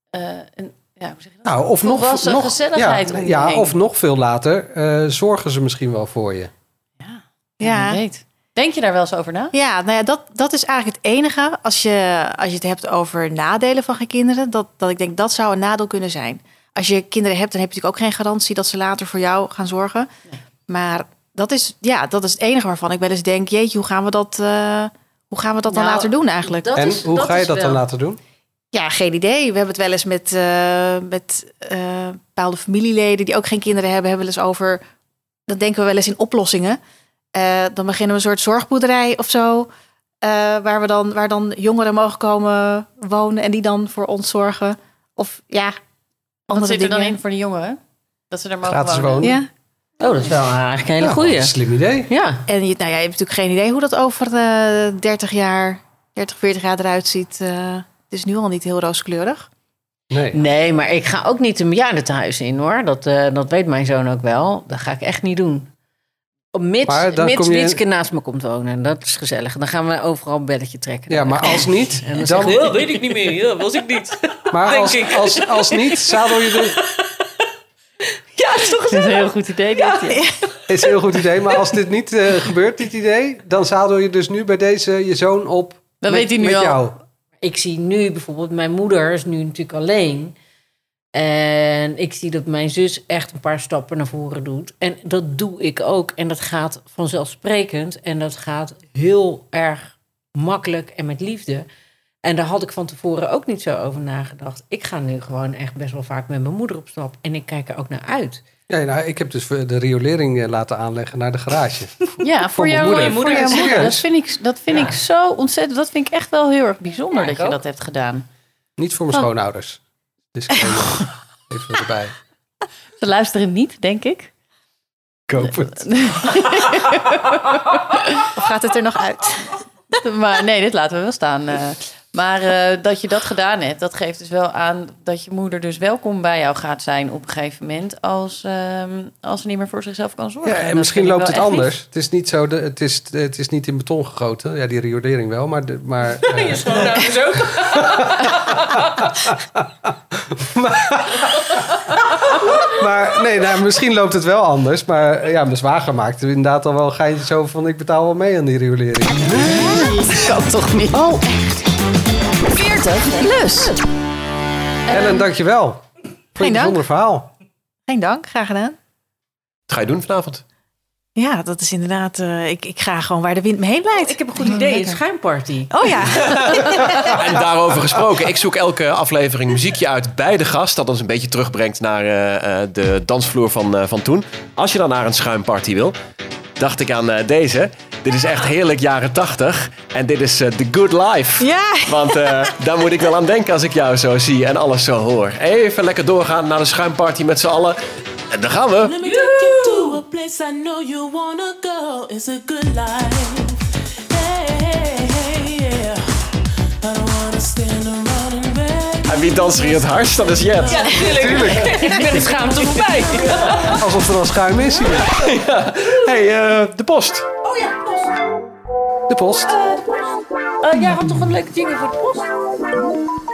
D: eh, een ja, hoe zeg je dat?
E: Nou, of nog,
D: Volwassen
E: nog
D: gezelligheid
E: ja,
D: om je
E: ja,
D: heen.
E: of nog veel later eh, zorgen ze misschien wel voor je.
A: Ja.
D: Wie weet. Denk je daar wel eens over na?
A: Ja, nou ja, dat, dat is eigenlijk het enige als je, als je het hebt over nadelen van geen kinderen. Dat, dat ik denk dat zou een nadeel kunnen zijn. Als je kinderen hebt, dan heb je natuurlijk ook geen garantie dat ze later voor jou gaan zorgen. Maar dat is, ja, dat is het enige waarvan ik wel eens denk: jeetje, hoe gaan we dat, eh, hoe gaan we dat
C: Nou,
A: dan later doen eigenlijk?
C: dat
E: en
C: is-
E: hoe
C: dat
E: ga je
C: is
E: dat dan
C: wel-
E: laten doen?
A: Ja, geen idee. We hebben het wel eens met, eh, met eh, bepaalde familieleden die ook geen kinderen hebben, hebben we wel eens over. Dat denken we wel eens in oplossingen. Eh, dan beginnen we een soort zorgboerderij of zo. eh, waar, we dan, waar dan jongeren mogen komen wonen en die dan voor ons zorgen. Of ja,
D: Wat
A: andere
D: zit er dan
A: dingen.
D: in voor de jongeren? Dat ze daar mogen
E: Gratis
D: wonen.
E: wonen.
A: Ja.
C: Oh, dat is wel eigenlijk een hele
E: Nou,
C: goeie.
E: Slim idee.
C: Ja,
A: En je, nou ja, je hebt natuurlijk geen idee hoe dat over eh 30 jaar, 30, 40 jaar eruit ziet. Eh, het is nu al niet heel rooskleurig.
E: Nee.
C: nee, maar ik ga ook niet een bejaardentehuis in hoor. Dat, eh, dat weet mijn zoon ook wel. Dat ga ik echt niet doen. Oh, Mits,
E: Maar dan
C: mits
E: kom je-
C: Wietske naast me komt wonen. Dat is gezellig. Dan gaan we overal een belletje trekken.
E: Ja, maar als
C: [laughs]
E: niet,
C: En dan
E: dan,
C: zeg je, "Oh, weet ik niet meer. Ja, dat was ik niet.
E: maar
C: denk
E: als,
C: ik.
E: als, als niet, zadel je dus- de...
C: Ja, is toch
D: [laughs] Dat is een heel goed idee, dit. ja.
E: is een heel goed idee, maar als dit niet eh, gebeurt, dit idee, dan zadel je dus nu bij deze je zoon op
D: Dat
E: met,
D: weet hij nu
E: met
D: al.
E: jou.
C: Ik zie nu bijvoorbeeld, mijn moeder is nu natuurlijk alleen. En ik zie dat mijn zus echt een paar stappen naar voren doet. En dat doe ik ook. En dat gaat vanzelfsprekend. En dat gaat heel erg makkelijk en met liefde. En daar had ik van tevoren ook niet zo over nagedacht. Ik ga nu gewoon echt best wel vaak met mijn moeder op stap. En ik kijk er ook naar uit.
E: Nee, nou, ik heb dus de riolering eh, laten aanleggen naar de garage.
D: Ja, voor,
E: mijn
D: jou,
E: moeder.
D: voor
E: Voor
D: jouw
E: jou,
D: moeder. Dat
E: serieus.
D: vind ik, dat vind ik zo ontzettend. Dat vind ik echt wel heel erg bijzonder
C: Ja,
D: dat
C: ik
D: je
C: ook.
D: dat hebt gedaan.
E: Niet voor mijn schoonouders. Dus ik- Even erbij.
D: Ze luisteren niet, denk ik.
E: Koop het.
A: Of gaat het er nog uit?
D: [laughs] Maar nee, dit laten we wel staan. eh. maar eh, dat je dat gedaan hebt, dat geeft dus wel aan dat je moeder dus welkom bij jou gaat zijn op een gegeven moment. Als, ehm, als ze niet meer voor zichzelf kan zorgen.
E: Ja,
D: En
E: en
D: dat
E: misschien
D: vind ik
E: loopt het
D: wel echt
E: anders. Het is niet zo, de, het, is, het is niet in beton gegoten. Ja, die riolering wel, maar... De,
D: [laughs]
E: maar eh,
C: [laughs]
E: Maar nee, nou, misschien loopt het wel anders. Maar eh, ja, mijn zwager maakte inderdaad al wel een geintje zo van... ik betaal wel mee aan die riolering.
D: lief. kan toch niet? Oh, echt. 40 plus.
E: Ellen, dankjewel. Voor je
A: dank.
E: bijzonder verhaal.
A: Geen dank, graag gedaan.
B: Wat ga je doen vanavond?
A: Ja, dat is inderdaad. eh, ik, ik ga gewoon waar de wind me heen leidt.
D: Oh,
C: Ik heb een goed idee, een
A: Lekker.
C: schuimparty.
A: Oh ja,
B: Ah, en daarover gesproken, ik zoek elke aflevering muziekje uit bij de gast. Dat ons een beetje terugbrengt naar eh, eh, de dansvloer van, eh, van toen. Als je dan naar een schuimparty wil, dacht ik aan eh, deze. Dit is echt heerlijk jaren tachtig. En dit is eh, The Good Life.
A: ja.
B: Want eh, daar moet ik wel aan denken als ik jou zo zie en alles zo hoor. Even lekker doorgaan naar de schuimparty met z'n allen. En daar gaan we.
F: Let me take you to a place I know you wanna go. It's a good life. Hey, hey, yeah. I don't wanna stand around and beg.
B: En wie danst er in het hardst? Dat is Jet.
C: Ik ben het schaamte voorbij.
E: Alsof er al schuim is hier.
B: hey, eh, de post.
E: De post.
D: Oh,
C: ja, had toch een leuke jingle voor de post?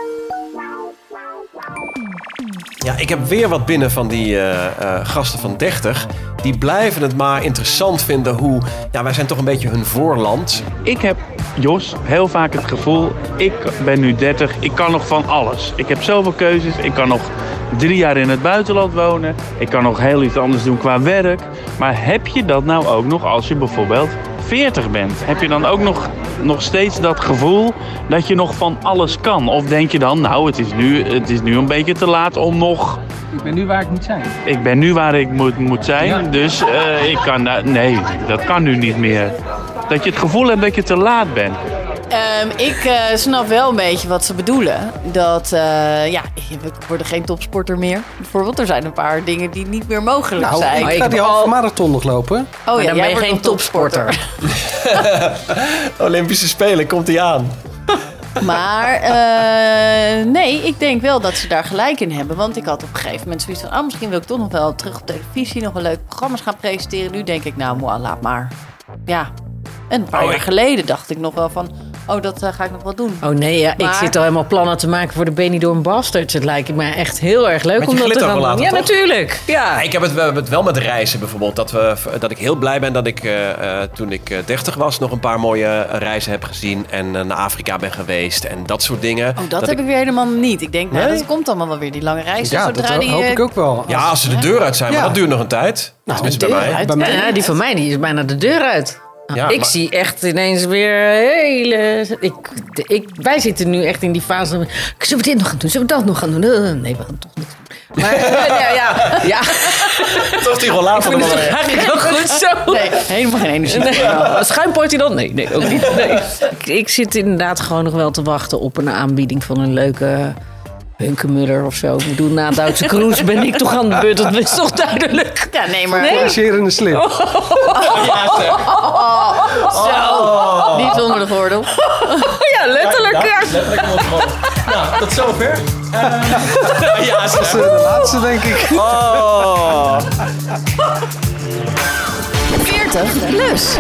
B: Ja, ik heb weer wat binnen van die eh, eh, gasten van 30. Die blijven het maar interessant vinden hoe... Ja, wij zijn toch een beetje hun voorland.
G: Ik heb, Jos, heel vaak het gevoel, ik ben nu 30, ik kan nog van alles. Ik heb zoveel keuzes, ik kan nog drie jaar in het buitenland wonen, ik kan nog heel iets anders doen qua werk. Maar heb je dat nou ook nog als je bijvoorbeeld 40 bent? Heb je dan ook nog, nog steeds dat gevoel dat je nog van alles kan? Of denk je dan, nou het is nu, het is nu een beetje te laat om nog...
H: Ik ben nu waar ik moet zijn.
G: Ik ben nu waar ik moet, moet zijn, dus eh, ik kan... daar- nee, dat kan nu niet meer. Dat je het gevoel hebt dat je te laat bent.
D: Ehm, ik eh, snap wel een beetje wat ze bedoelen. Dat, eh, ja, we worden geen topsporter meer. Bijvoorbeeld, er zijn een paar dingen die niet meer mogelijk
E: Nou,
D: zijn.
E: ik ga die halve marathon nog lopen.
D: Oh
C: dan
D: jij
C: ben je
D: wordt
C: geen
D: nog topsporter. [laughs]
B: Olympische Spelen, komt die aan.
D: Maar eh, nee, ik denk wel dat ze daar gelijk in hebben. Want ik had op een gegeven moment zoiets van... ah, misschien wil ik toch nog wel terug op televisie... nog wel leuke programma's gaan presenteren. Nu denk ik, nou, moi, laat maar. Ja. En een paar
B: Oh,
D: jaar
B: ik-
D: geleden dacht ik nog wel van... oh, dat eh, ga ik nog wel doen.
C: Oh nee, ja,
D: Maar-
C: ik zit al helemaal plannen te maken voor de Benidorm Bastards. Het lijkt me echt heel erg leuk
B: Met je
C: om dat te gaan
B: glitterrollator,
C: doen. Ja,
B: toch?
C: natuurlijk.
B: Ja, ik heb het, we hebben het wel met reizen bijvoorbeeld. Dat, we, dat ik heel blij ben dat ik eh, eh, toen ik eh, 30 was nog een paar mooie eh, reizen heb gezien. En eh, naar Afrika ben geweest en dat soort dingen.
D: Oh, dat, heb ik weer helemaal niet. Ik denk, nou,
B: Nee?
D: dat komt allemaal wel weer. Die lange reis.
E: Ja, dat
D: zodra
E: ho-
D: die,
E: hoop
D: eh,
E: ik ook wel.
B: Ja, als ze de deur uit zijn, maar
E: Ja.
B: dat duurt nog een tijd. Nou, Tenminste bij
D: deur
B: mij.
D: uit.
E: Bij mij
C: Ja, die van mij die is bijna de deur uit.
B: Ja,
C: ik
B: maar-
C: zie echt ineens weer hele... Ik, ik, wij zitten nu echt in die fase van... Zullen we dit nog gaan doen? Zullen we dat nog gaan doen? Eh, Nee, we gaan toch niks doen. Maar [laughs] ja, ja, [laughs] ja.
B: Toch die rollator er wel in.
C: eigenlijk ook goed zo.
D: Nee, [laughs] helemaal geen energie.
C: Nee. [laughs] Ja. Schuimparty dan? Nee, nee, ook niet. Nee. Ik, ik zit inderdaad gewoon nog wel te wachten op een aanbieding van een leuke hunkemuller of zo. Ik bedoel, na Duitse Cruise ben ik toch aan de beurt. Dat is toch duidelijk.
D: Ja, [laughs] nee, maar
E: Marcherende slip.
D: niet onder de gordel.
C: Ja, letterlijk. ja.
B: Nou, tot zover. Eh, [laughs] ja,
E: Dat is eh, de laatste, denk ik.
B: Oh.
D: 40 plus.